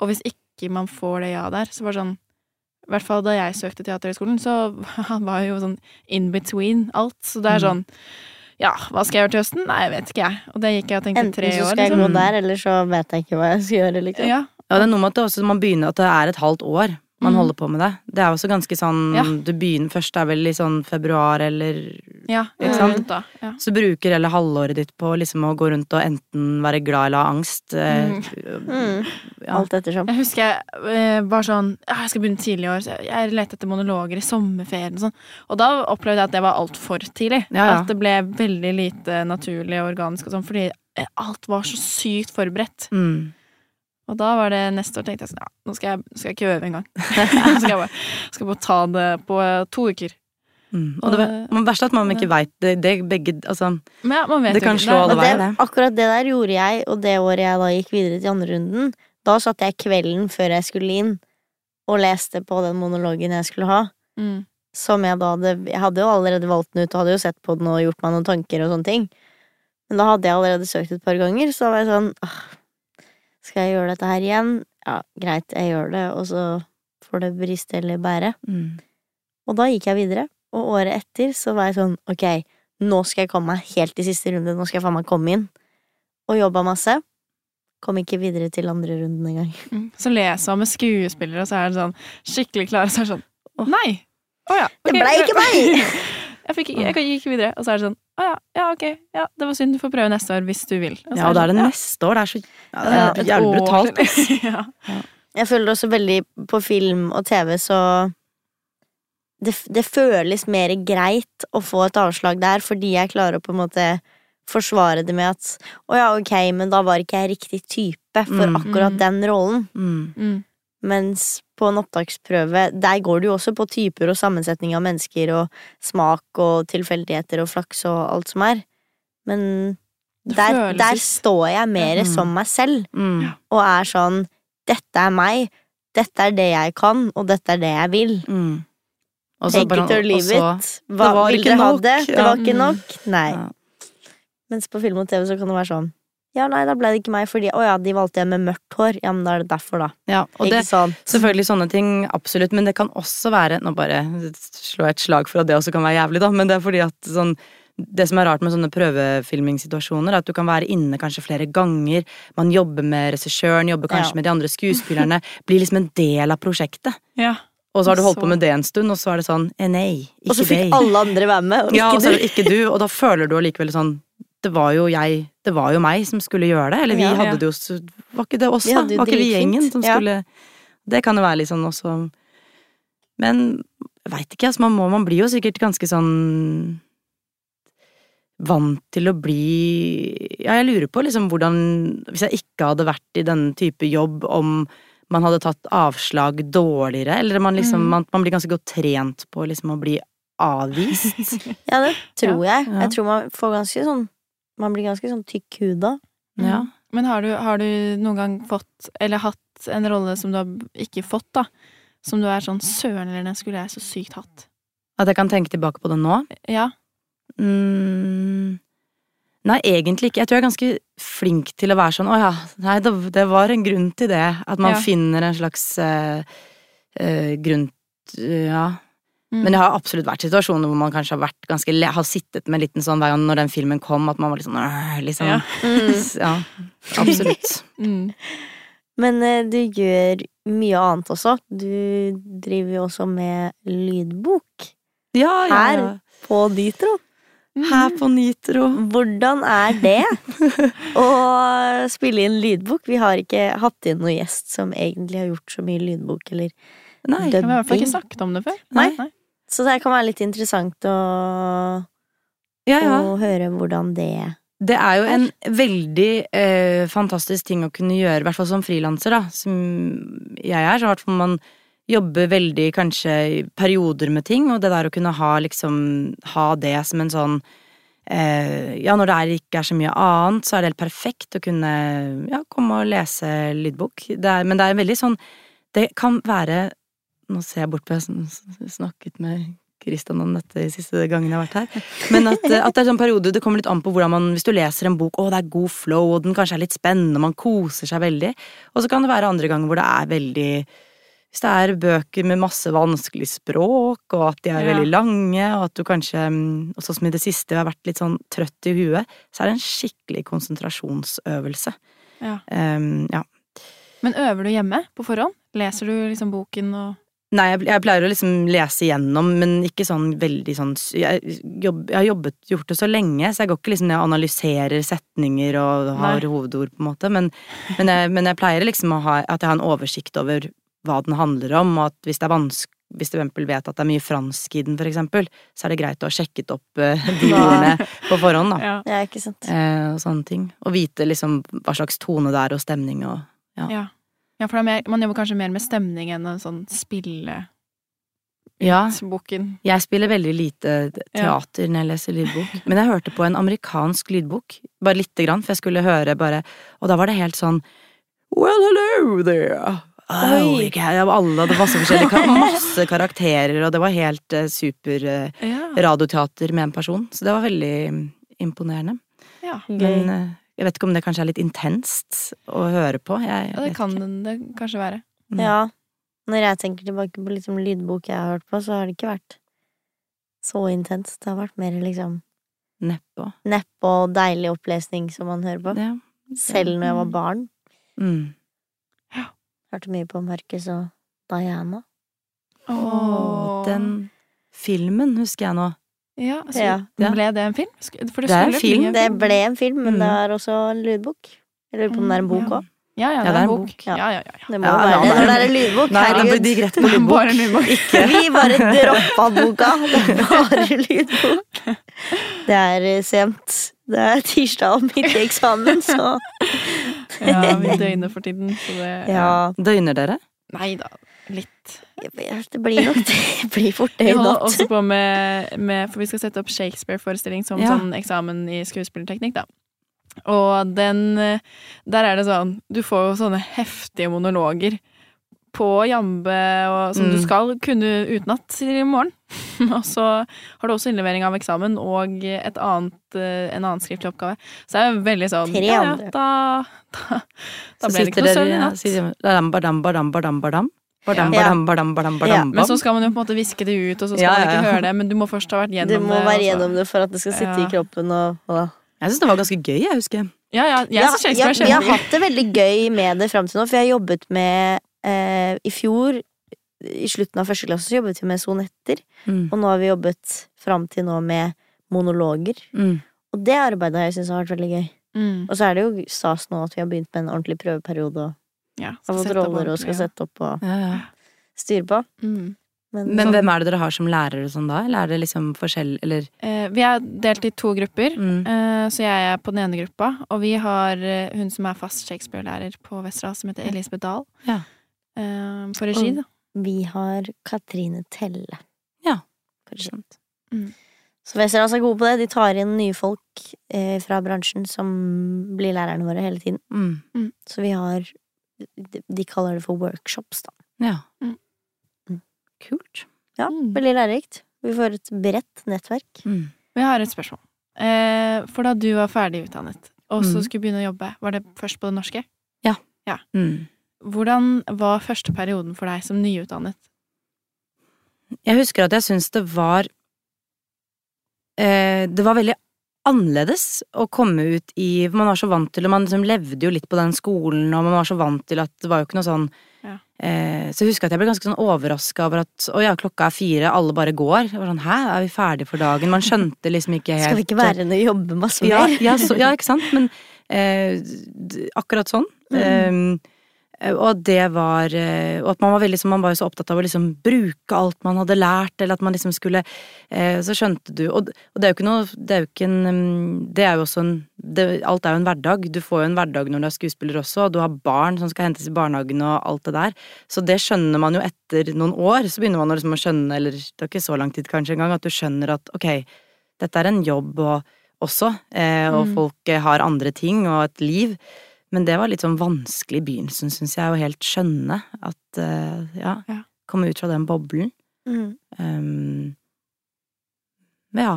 B: Og hvis ikke man får det ja der, så var det sånn I hvert fall da jeg søkte Teaterhøgskolen, så var jeg jo sånn in between alt. Så
A: Mm.
B: det er sånn Ja, hva skal jeg gjøre til høsten? Nei, jeg vet ikke, jeg. Og det gikk jeg og tenkte i
A: Enten
B: tre
A: så
B: år,
A: skal jeg
B: liksom.
A: gå der, eller så vet jeg ikke hva jeg skal gjøre. Liksom.
B: Ja.
D: Ja, det er noe med at det også, man begynner at det er et halvt år man
B: Mm.
D: holder på med det. Det er også ganske sånn
B: Ja.
D: Du begynner først, det er vel i sånn februar eller
B: ja,
D: Ikke
A: sant?
B: rundt Da. Ja.
D: Så bruker hele halvåret ditt på liksom å gå rundt og enten være glad eller ha angst. eh,
A: Mm.
D: Ja.
A: Alt ettersom.
B: Jeg husker jeg eh, var sånn «Ah, Jeg skal begynne tidlig i år. Så jeg- jeg lette etter monologer i sommerferien. Og, sånn. og da opplevde jeg at det var altfor tidlig.
D: Ja, ja.
B: At det ble veldig lite naturlig og organisk og sånn, fordi eh, alt var så sykt forberedt.
D: Mm.
B: Og da var det neste år tenkte jeg sånn Ja, nå skal jeg, nå skal jeg ikke øve engang. Nå skal jeg bare, skal bare ta det på eh, to uker.
D: Mm. Og det
B: Og-
D: men verst er at man ikke veit det, det begge Altså,
B: Men ja, man vet
D: Det
B: jo
D: kan
B: ikke.
D: slå
A: Og
D: alle
A: det,
D: veier, det.
A: akkurat det der gjorde jeg, og det året jeg da gikk videre til andre runden, da satt jeg kvelden før jeg skulle inn, og leste på den monologen jeg skulle ha.
B: Mm.
A: Som jeg da hadde Jeg hadde jo allerede valgt den ut, og hadde jo sett på den og gjort meg noen tanker og sånne ting. Men da hadde jeg allerede søkt et par ganger, så da var jeg sånn «Åh, Skal jeg gjøre dette her igjen? Ja, greit, jeg gjør det, og så får det briste eller bære.
D: mm.
A: Og da gikk jeg videre, og året etter så var jeg sånn Ok, nå skal jeg komme meg helt i siste runde, nå skal jeg faen meg komme inn. Og jobba masse. Kom ikke videre til andre runden engang.
B: Mm. Så leser man med skuespillere, og så er det sånn skikkelig klare, og så er det sånn «Å, Nei! Å ja.
A: Det
B: ok,
A: ble ikke meg!
B: Jeg, fikk, ikke- jeg gikk ikke videre, og så er det sånn Å ja, ja, ok. Ja, det var synd. Du får prøve neste år hvis du vil. så
D: Ja, og da er det
B: sånn,
D: neste år. Det er så ja, det
B: ja,
D: er
B: et
D: jævlig
B: år
D: brutalt.
B: til. ja.
A: Jeg føler også veldig på film og TV, så det, det føles mer greit å få et avslag der, fordi jeg klarer å på en måte forsvare det med at å ja, ok, men da var ikke jeg riktig type for
D: Mm.
A: akkurat
B: Mm.
A: den rollen.
D: Mm.
B: Mm.
A: Mens på en opptaksprøve, der går det jo også på typer og sammensetning av mennesker og smak og tilfeldigheter og flaks og alt som er. Men
B: Det
A: der,
B: føles
A: der
B: litt-
A: står jeg mer
D: Mm.
A: som meg selv
D: Mm.
B: Ja.
A: og er sånn Dette er meg, dette er det jeg kan, og dette er det jeg vil.
D: Mm. Og så
A: Take
D: bare-
A: it or
D: og
A: leave
D: så-
A: it. Hva
D: det var
A: vil
D: ikke
A: dere ha
D: nok,
A: det? Det
D: ja.
A: var ikke
B: Mm.
A: nok? Nei.
D: Ja.
A: Mens på film og TV så kan det være sånn Ja, nei, da ble det ikke meg fordi Å ja, de valgte en med mørkt hår. Ja, men da er det derfor, da.
D: Ja, og
A: ikke
D: det,
A: sånn.
D: Selvfølgelig sånne ting, absolutt, men det kan også være Nå bare slår jeg et slag for at det også kan være jævlig, da, men det er fordi at sånn det som er rart med sånne prøvefilmingssituasjoner, er at du kan være inne kanskje flere ganger. Man jobber med regissøren, jobber kanskje
A: Ja.
D: med de andre skuespillerne. Blir liksom en del av prosjektet.
B: Ja.
D: Og så har du holdt
B: Så-
D: på med det en stund, og så er det sånn eh, Nei,
A: Og så fikk
D: ikke deg.
A: alle andre være med, og
D: Ja,
A: ikke du.
D: altså- og så er det ikke du, og da føler du allikevel sånn Det var jo jeg, det var jo meg som skulle gjøre det. Eller vi
A: Ja.
D: hadde det jo så- Var ikke det oss,
A: Vi
D: da?
A: hadde jo
D: Var ikke vi
A: dritfint,
D: gjengen som
A: ja.
D: skulle Det kan jo være litt sånn også Men jeg veit ikke, altså. Man, må, man blir jo sikkert ganske sånn Vant til å bli Ja, jeg lurer på liksom hvordan Hvis jeg ikke hadde vært i denne type jobb, om man hadde tatt avslag dårligere, eller man liksom
B: Mm.
D: man, man blir ganske godt trent på liksom å bli avvist.
A: Ja, det tror jeg.
D: Ja.
A: Jeg tror man får ganske sånn Man blir ganske sånn tykk huda.
B: Mm.
D: Ja.
B: Men har du, har du noen gang fått, eller hatt, en rolle som du har ikke fått, da? Som du er sånn Søren, eller den skulle jeg så sykt hatt.
D: At jeg kan tenke tilbake på det nå?
B: Ja.
D: Mm. Nei, egentlig ikke. Jeg tror jeg er ganske flink til å være sånn Å ja, nei, det, det var en grunn til det. At man
B: Ja.
D: finner en slags eh, eh, grunn Ja.
B: Mm.
D: Men det har absolutt vært situasjoner hvor man kanskje har vært ganske le- Har sittet med en liten sånn hver gang når den filmen kom, at man var litt sånn «Åh», liksom.
B: Ja.
D: Ja. absolutt.
B: Mm.
A: Men eh, du gjør mye annet også. Du driver jo også med lydbok
D: Ja, ja, ja.
A: på Nitro.
D: Her på Nitro.
A: Hvordan er det å spille inn lydbok? Vi har ikke hatt inn noen gjest som egentlig har gjort så mye lydbok eller
D: Nei.
B: Vi har i hvert fall
A: dubbing.
B: ikke snakket om det før.
D: Nei.
A: Så det kan være litt interessant å,
D: Ja, ja.
A: å høre hvordan det
D: Det er jo en veldig eh, fantastisk ting å kunne gjøre, i hvert fall som frilanser, da, som jeg er. Så i hvert fall man jobber veldig, kanskje, i perioder med ting, og det der å kunne ha liksom Ha det som en sånn eh, Ja, når det er, ikke er så mye annet, så er det helt perfekt å kunne ja, komme og lese lydbok. Det er, men det er veldig sånn Det kan være Nå ser jeg bort på jeg som snakket med Kristian om dette de siste gangene jeg har vært her. Men at, eh, at det er sånn periode Det kommer litt an på hvordan man Hvis du leser en bok, å, det er god flow, og den kanskje er litt spennende, og man koser seg veldig. Og så kan det være andre ganger hvor det er veldig hvis det er bøker med masse vanskelig språk, og at de er
B: Ja.
D: veldig lange, og at du kanskje, mm, og sånn som i det siste, har vært litt sånn trøtt i huet, så er det en skikkelig konsentrasjonsøvelse.
B: Ja.
D: Ehm, ja.
B: Men øver du hjemme på forhånd? Leser du liksom boken og
D: Nei, jeg, jeg pleier å liksom lese igjennom, men ikke sånn veldig sånn s- Jeg, jobb, jeg har jobbet, gjort det så lenge, så jeg går ikke liksom ned og analyserer setninger og har
B: Nei.
D: hovedord, på en måte, men, men, jeg, men jeg pleier liksom å ha at jeg har en oversikt over hva den handler om, og at hvis det er vanskelig hvis du for eksempel vet at det er mye fransk i den, for eksempel, så er det greit å ha sjekket opp eh, de ordene på forhånd, da.
B: Ja.
A: Ja, ikke sant.
D: Eh, og sånne ting. Og vite liksom hva slags tone det er, og stemning og
B: ja. ja for det er mer, man jobber kanskje mer med stemning enn en sånn spilleboken.
D: Ja, Jeg spiller veldig lite teater når jeg leser lydbok. Men jeg hørte på en amerikansk lydbok, bare lite grann, for jeg skulle høre bare Og da var det helt sånn Well, hello there. Oh,
A: Oi.
D: ikke her. Og alle hadde masse forskjellige kar masse karakterer, og det var helt eh, super eh,
B: Ja.
D: radioteater med en person. Så det var veldig mm, imponerende.
B: ja.
A: Gøy.
D: Men eh, jeg vet ikke om det kanskje er litt intenst å høre på. Jeg,
B: Ja, det
D: vet
B: kan
D: ikke.
B: den- det kanskje være.
D: Mm.
A: Ja. Når jeg tenker tilbake på liksom lydbok jeg har hørt på, så har det ikke vært så intenst. Det har vært mer liksom
D: Neppe.
A: neppe og deilig opplesning som man hører på.
D: Ja.
A: Selv når jeg var barn.
D: Mm.
A: Hørte mye på Marcus og Diana.
D: Åh, den filmen husker jeg nå.
B: Ja, så
A: Ja.
D: Ja.
B: ble det en film? Sk- For
D: Det er en
B: skulle bli
D: film.
A: Det ble en film, men
D: Mm.
A: det er også en lydbok. Jeg lurer på om det er en bok
B: Ja.
A: òg.
B: Ja, ja, det er en bok.
A: Ja.
B: Ja, ja, ja. ja.
A: Det må
D: Ja,
A: være
D: ja,
A: det når det
D: nei.
A: er en lydbok.
D: Nei, da
A: Herregud.
D: blir det rett på lydbok.
B: Bare en lydbok.
A: Vi bare droppa boka. Det er bare lydbok. Det er eh, sent. Det er tirsdag og midt i eksamen, så
B: Ja, vi døgner for tiden, så det
A: ja.
D: Døgner dere?
B: Nei da, litt.
A: altså, Det blir nok det. Det blir fort det
B: Vi
A: i
B: holder
A: natt.
B: også på med, med For vi skal sette opp Shakespeare-forestilling som
D: Ja.
B: sånn eksamen i skuespillerteknikk, da. Og den eh, Der er det sånn Du får jo sånne heftige monologer på jambe og, som
D: Mm.
B: du skal kunne utenat til i morgen. og så har du også innlevering av eksamen og et annet, eh, en annen skriftlig oppgave. Så det er jo veldig sånn
A: Tre
B: Ja,
A: andre.
B: ja, da, da, da
D: Så
B: ble det ikke
D: sitter
B: noe
D: dere
B: søvn i natt.
D: sitter hjemme, Badam, badam, badam, badam, badam. Badam,
A: Ja.
D: badam, badam, badam, badam,
B: Men sånn- så
D: badam.
B: skal man jo på en måte viske det ut, og så skal
D: Ja,
B: man
D: ja, ja.
B: ikke høre det. Men du må først ha vært gjennom
A: Du
B: det. altså.
A: må
B: og
A: være
B: så-
A: gjennom det for at det skal sitte i
B: Ja.
A: kroppen. Og, og.
D: Jeg syns det var ganske gøy, jeg husker.
B: Ja, ja, jeg
A: Ja,
B: synes
A: ja,
B: Shakespeare
A: vi har
B: er kjempegøy.
A: hatt det veldig gøy med det fram til nå, for jeg har jobbet med eh, I fjor, i slutten av første klasse, så jobbet vi med sonetter.
D: Mm.
A: Og nå har vi jobbet fram til nå med monologer.
D: Mm.
A: Og det arbeidet har jeg syntes har vært veldig gøy.
B: Mm.
A: Og så er det jo stas nå at vi har begynt med en ordentlig prøveperiode og
B: Ja,
A: har fått
B: sette opp
A: roller og
B: ordentlig,
A: skal
B: ja.
A: sette opp og
D: Ja, ja.
A: styre på.
B: Mm.
A: Men,
D: Men hvem er det dere har som lærere og sånn da? Eller er det liksom forskjell Eller
B: Eh, vi er delt i to grupper,
D: mm.
B: eh, så jeg er på den ene gruppa. Og vi har eh, hun som er fast Shakespeare-lærer på Westerdals, som heter Elisabeth Dahl.
D: Ja.
B: Eh, på regi,
A: Og-
B: da.
A: vi har Katrine Telle.
D: Ja.
A: Kanskje.
B: Mm.
A: Så Westerdals er gode på det. De tar inn nye folk eh, fra bransjen som blir lærerne våre hele tiden.
D: mm.
A: Så vi har de- De kaller det for workshops, da.
D: Ja.
B: Mm.
A: Mm.
D: Kult.
A: Ja,
B: Mm.
A: Veldig lærerikt. Vi får et bredt nettverk.
D: Mm.
B: Vi har et spørsmål. Eh, for da du var ferdig utdannet, og så
D: Mm.
B: skulle begynne å jobbe, var det først på det norske?
D: Mm.
B: Hvordan var første perioden for deg som nyutdannet?
D: Jeg husker at jeg syns det var eh, Det var veldig annerledes å komme ut i for Man var så vant til og man liksom levde jo litt på den skolen, og man var så vant til at det var jo ikke noe sånn
B: Ja.
D: eh, Så jeg husker at jeg ble ganske sånn overraska over at å ja, klokka er fire, alle bare går. Jeg var sånn hæ, er vi ferdige for dagen? Man skjønte liksom ikke helt
A: Skal vi ikke være inne og jobbe masse
D: ja,
A: mer?
D: ja, så, ja, ikke sant? Men eh, d- akkurat sånn.
A: Mm.
D: Eh, og det var eh, Og at man var veldig sånn, man var jo så opptatt av å liksom bruke alt man hadde lært, eller at man liksom skulle eh, Så skjønte du og, og det er jo ikke noe Det er jo ikke en mm, Det er jo også en det, Alt er jo en hverdag. Du får jo en hverdag når du er skuespiller også, og du har barn som skal hentes i barnehagen og alt det der. Så det skjønner man jo etter noen år. Så begynner man å liksom å skjønne, eller det er ikke så lang tid kanskje engang, at du skjønner at ok, dette er en jobb, og også, eh, og
B: Mm.
D: folk eh, har andre ting og et liv. Men det var litt sånn vanskelig i begynnelsen, syns jeg, å helt skjønne at eh, ja,
B: Ja.
D: komme ut fra den boblen.
A: Mm,
D: Um, men ja.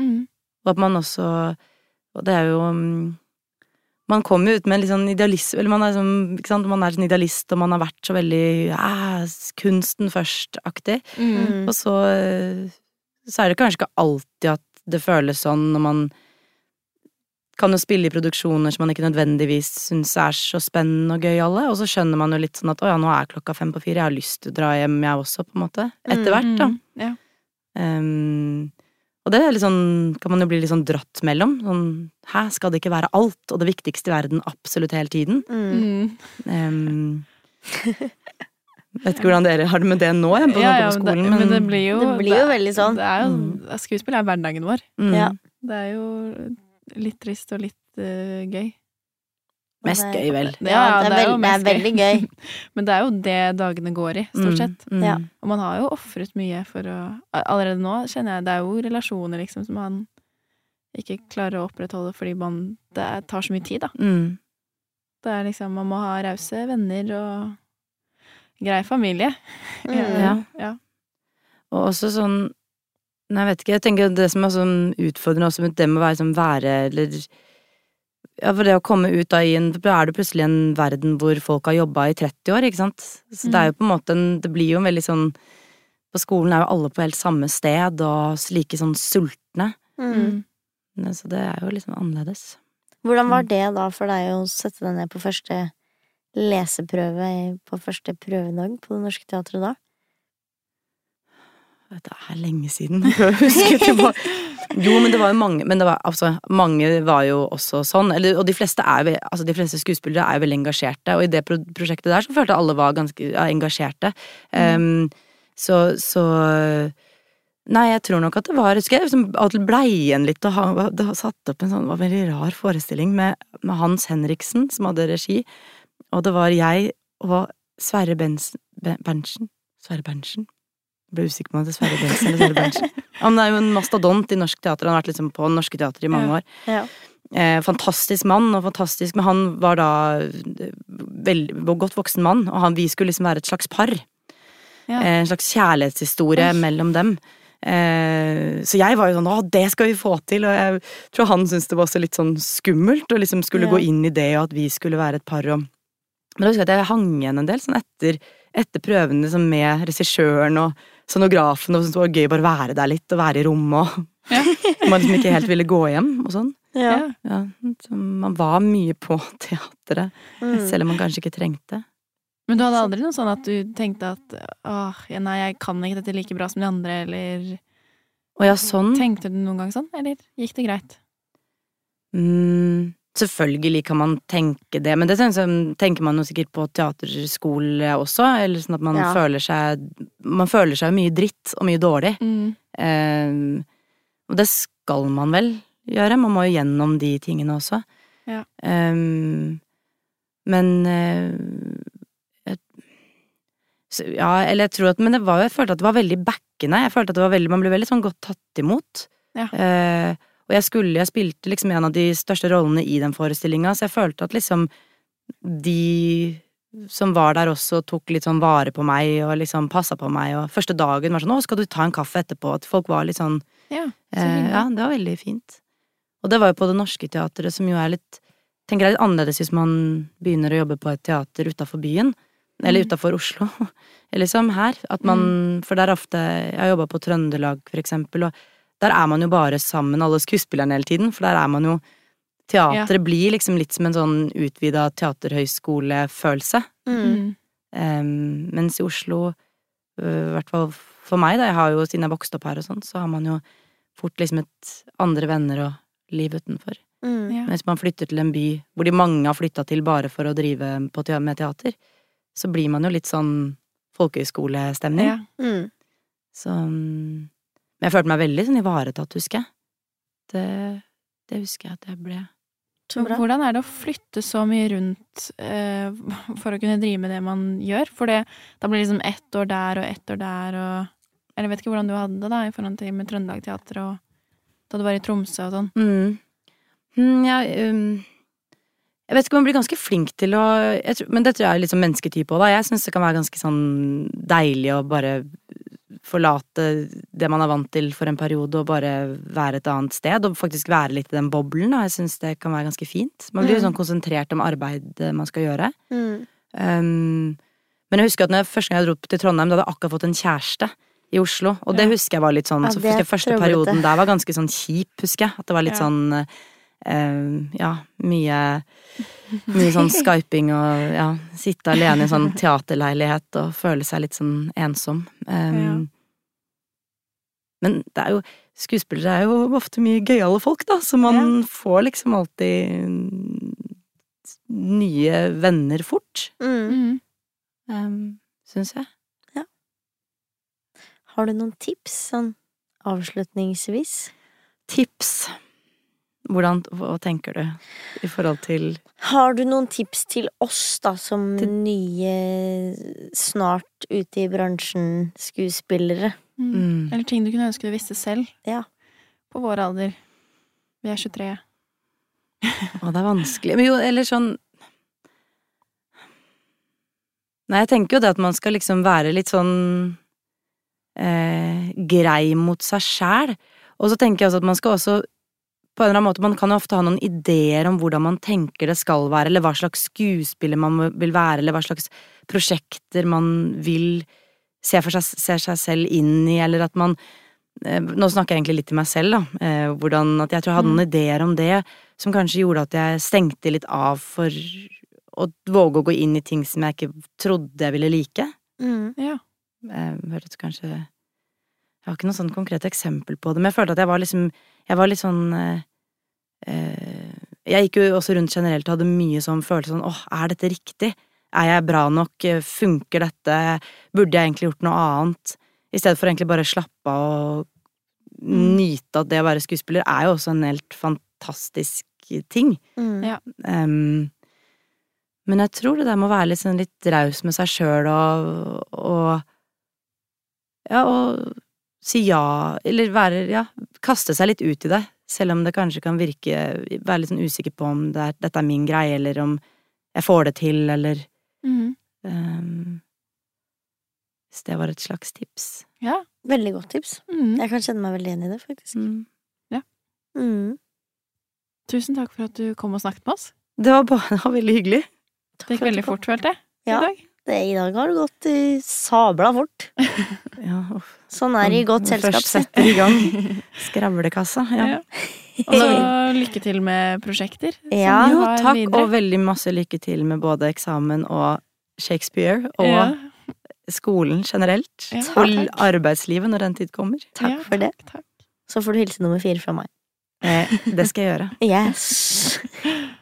B: Mm.
D: Og at man også Og det er jo mm, Man kommer jo ut med en litt sånn idealisme Eller man er sånn, ikke sant, man er sånn idealist, og man har vært så veldig «Ah, kunsten først-aktig.
B: Mm.
D: Og så eh, Så er det kanskje ikke alltid at det føles sånn når man kan jo spille i produksjoner som man ikke nødvendigvis syns er så spennende og gøy alle, og så skjønner man jo litt sånn at å ja, nå er klokka fem på fire, jeg har lyst til å dra hjem jeg også, på en måte. Etter hvert, da.
B: Mm. Ja.
D: Ehm, og det er litt sånn, kan man jo bli litt sånn dratt mellom. Sånn, Hæ, skal det ikke være alt og det viktigste i verden absolutt hele tiden?
A: Mm.
B: Mm.
D: Ehm, vet ikke hvordan dere har det med det nå, jeg, på,
B: Ja, ja,
D: på
B: men, det,
D: skolen,
B: men det blir jo
A: Det blir jo veldig sånn.
B: Det er jo,
D: Mm.
B: skuespill er hverdagen vår.
D: mm,
A: ja.
B: Det er jo litt trist og litt eh, gøy.
D: Mest gøy, vel.
A: Ja, det er, veld, det er
B: mest
A: veldig gøy.
B: Men det er jo det dagene går i,
D: Mm,
B: stort sett.
D: mm,
A: Ja.
B: Og man har jo ofret mye for å Allerede nå kjenner jeg det er jo relasjoner liksom som man ikke klarer å opprettholde fordi man Det er- tar så mye tid, da.
D: Mm,
B: Det er liksom Man må ha rause venner og grei familie.
A: Mm.
D: ja.
B: Ja.
D: Og også sånn Nei, jeg vet ikke. Jeg tenker at det som er sånn utfordrende også med det med å være sånn være eller Ja, for det å komme ut da i en Da er du plutselig i en verden hvor folk har jobba i 30 år, ikke sant? Så det er jo på en måte en Det blir jo en veldig sånn På skolen er jo alle på helt samme sted og like sånn sultne.
A: Mm.
D: Ne, Så det er jo litt sånn annerledes.
A: Hvordan var det da for deg å sette deg ned på første leseprøve på første prøvedag på Det Norske Teatret da?
D: Det er lenge siden. Jeg husker tilbake. Jo, men det var jo mange Men det var, altså, mange var jo også sånn. Eller, og de fleste, er, jo- altså, de fleste skuespillere er jo veldig engasjerte, og i det pro prosjektet der så følte jeg alle var ganske ja, engasjerte. Ehm, så, så Nei, jeg tror nok at det var Husker jeg liksom, at det blei igjen litt, og han var- det var satt opp en sånn det var en veldig rar forestilling med, med Hans Henriksen, som hadde regi, og det var jeg og Sverre Bensen Be- Berntsen Sverre Berntsen? Jeg ble usikker på om det er Sverre Bensen eller Sverre Berntsen. Han er jo en mastodont i norsk teater. Han har vært liksom på norske teater i mange
B: Ja.
D: år. Eh, fantastisk mann, og fantastisk, men han var da eh, vel, godt voksen mann, og han, vi skulle liksom være et slags par.
B: Ja.
D: Eh, En slags kjærlighetshistorie mellom dem. Eh, så jeg var jo sånn Å, det skal vi få til! Og jeg tror han syntes det var også litt sånn skummelt å liksom skulle
A: Ja.
D: gå inn i det, og at vi skulle være et par og Men da husker jeg at jeg hang igjen en del sånn etter, etter prøvene liksom, med regissøren og sonografen, og syntes det var gøy bare å være der litt, og være i rommet, og
B: Ja.
D: man liksom ikke helt ville gå hjem og sånn.
B: Ja.
D: Ja, så man var mye på teatret,
A: Mm.
D: selv om man kanskje ikke trengte.
B: Men du hadde aldri noe sånn at du tenkte at åh, ja, nei, jeg kan ikke dette like bra som de andre, eller
D: Og ja,
A: Mm.
D: sånn
B: Tenkte du noen gang sånn, eller gikk det greit?
D: mm, Selvfølgelig kan man tenke det, men det synes jeg- tenker man jo sikkert på teaterskole også, eller sånn at man
A: Ja.
D: føler seg Man føler seg jo mye dritt og mye dårlig.
A: Mm.
D: Eh, og det skal man vel gjøre, man må jo gjennom de tingene også.
B: Ja.
D: Eh, men eh, jeg, så, Ja, eller jeg tror at Men det var, jo- jeg følte at det var veldig backende. Jeg følte at det var veldig, Man ble veldig sånn godt tatt imot.
B: Ja.
D: Eh, og jeg skulle, jeg spilte liksom en av de største rollene i den forestillinga, så jeg følte at liksom de som var der også tok litt sånn vare på meg og liksom passa på meg, og første dagen var sånn 'Å, skal du ta en kaffe etterpå?' At folk var litt sånn
B: Ja, så
D: eh,
B: hyggelig.
D: Ja, det var veldig fint. Og det var jo på Det Norske Teatret, som jo er litt tenker jeg er litt annerledes hvis man begynner å jobbe på et teater utafor byen. Eller
B: Mm.
D: utafor Oslo. Eller som her. At man For der er ofte Jeg har jobba på Trøndelag, for eksempel, og der er man jo bare sammen, alle skuespillerne, hele tiden. For der er man jo Teatret blir liksom litt som en sånn utvida teaterhøyskolefølelse.
A: Mm.
D: Um, mens i Oslo, øh, i hvert fall for meg, da, jeg har jo, siden jeg vokste opp her og sånn, så har man jo fort liksom et andre venner og liv utenfor.
A: Mm.
B: Ja.
D: Mens man flytter til en by hvor de mange har flytta til bare for å drive på, te- med teater, så blir man jo litt sånn folkehøyskolestemning.
B: Ja.
A: Mm.
D: Så mm, Men jeg følte meg veldig sånn ivaretatt, husker jeg. Det, det husker jeg at jeg ble.
A: Så bra.
B: Hvordan er det å flytte så mye rundt eh, for å kunne drive med det man gjør? For det, da blir det liksom ett år der og ett år der og Eller jeg vet ikke hvordan du hadde det da i forhold til med Trøndelag Teater og da du var i Tromsø og sånn?
D: Mm. Mm, ja, um, jeg vet ikke om jeg blir ganske flink til å jeg tror, Men dette er litt sånn mennesketype òg, da. Jeg syns det kan være ganske sånn deilig å bare forlate det man er vant til for en periode, og bare være et annet sted. Og faktisk være litt i den boblen. Da. Jeg syns det kan være ganske fint. Man blir jo sånn konsentrert om arbeidet man skal gjøre.
A: Mm.
D: Um, men jeg husker at når jeg, første gang jeg dro til Trondheim, da hadde jeg akkurat fått en kjæreste i Oslo. Og det husker jeg var litt sånn
A: Ja,
D: Så
A: det er
D: husker jeg første
A: trøblete.
D: perioden der var ganske sånn kjip, husker jeg. At det var litt
B: Ja.
D: sånn eh, Ja, mye Mye sånn skyping og ja, sitte alene i en sånn teaterleilighet og føle seg litt sånn ensom. Um, Men det er jo Skuespillere er jo ofte mye gøyale folk, da, så man får liksom alltid mm, nye venner fort
A: Mm.
B: Mm.
D: um, syns jeg.
A: Har du noen tips sånn avslutningsvis?
D: Tips. Hvordan, hva tenker du i forhold til
A: Har du noen tips til oss da, som
D: Til-
A: nye, snart ute i bransjen, skuespillere?
B: Mm.
D: mm.
B: Eller ting du kunne ønske du visste selv.
A: Ja.
B: På vår alder. Vi er 23.
D: Å, det er vanskelig. Men jo, eller sånn Nei, jeg tenker jo det at man skal liksom være litt sånn eh, grei mot seg sjæl. Og så tenker jeg også at man skal også på en eller annen måte, Man kan jo ofte ha noen ideer om hvordan man tenker det skal være, eller hva slags skuespiller man vil være, eller hva slags prosjekter man vil se for seg, ser seg selv inn i, eller at man eh, Nå snakker jeg egentlig litt til meg selv, da. eh, Hvordan, at jeg tror jeg hadde noen ideer om det som kanskje gjorde at jeg stengte litt av for å våge å gå inn i ting som jeg ikke trodde jeg ville like.
A: Mm.
B: Ja.
D: Eh, Hørtes kanskje Jeg har ikke noe sånn konkret eksempel på det, men jeg følte at jeg var liksom Jeg var litt sånn eh, eh, Jeg gikk jo også rundt generelt og hadde mye sånn følelse sånn åh, er dette riktig? Er jeg bra nok? Eh, Funker dette? Burde jeg egentlig gjort noe annet? I stedet for egentlig bare slappe av og nyte at det å være skuespiller er jo også en helt fantastisk ting.
A: Mm.
B: Ja.
D: Ehm, men jeg tror det der med å være litt, sånn, litt raus med seg sjøl og, og Ja, og si ja, eller være Ja, kaste seg litt ut i det. Selv om det kanskje kan virke Være litt sånn usikker på om det er, dette er min greie, eller om jeg får det til, eller
A: Mm.
B: Mhm.
D: ehm, Hvis det var et slags tips.
B: Ja.
A: Veldig godt tips.
B: Mhm.
A: Jeg kan kjenne meg veldig igjen i det, faktisk.
D: Mm.
A: Mm.
B: Tusen takk for at du kom og snakket med oss.
D: Det, var bare, det var veldig hyggelig.
A: Takk
B: Det gikk
A: for at du
B: veldig
A: kom.
B: fort, følte jeg.
A: Ja.
B: I dag.
A: Det, I dag har det gått eh, sabla fort.
D: Ja, uff.
A: Sånn er det i godt
D: Når
A: selskap.
D: man Mm. Først
A: si.
D: setter i gang skravlekassa. Ja.
B: Ja. Og så lykke til med prosjekter. som
A: Ja.
B: du
D: Jo,
B: har
D: takk,
B: videre.
D: og veldig masse lykke til med både eksamen og Shakespeare, og
B: ja.
D: skolen generelt.
B: Ja.
D: Og
A: Takk.
D: arbeidslivet når den tid kommer.
A: Takk
B: Ja,
A: for det.
B: Takk, takk.
A: Så får du hilse nummer fire fra meg.
D: Eh, det skal jeg gjøre.
A: Yes!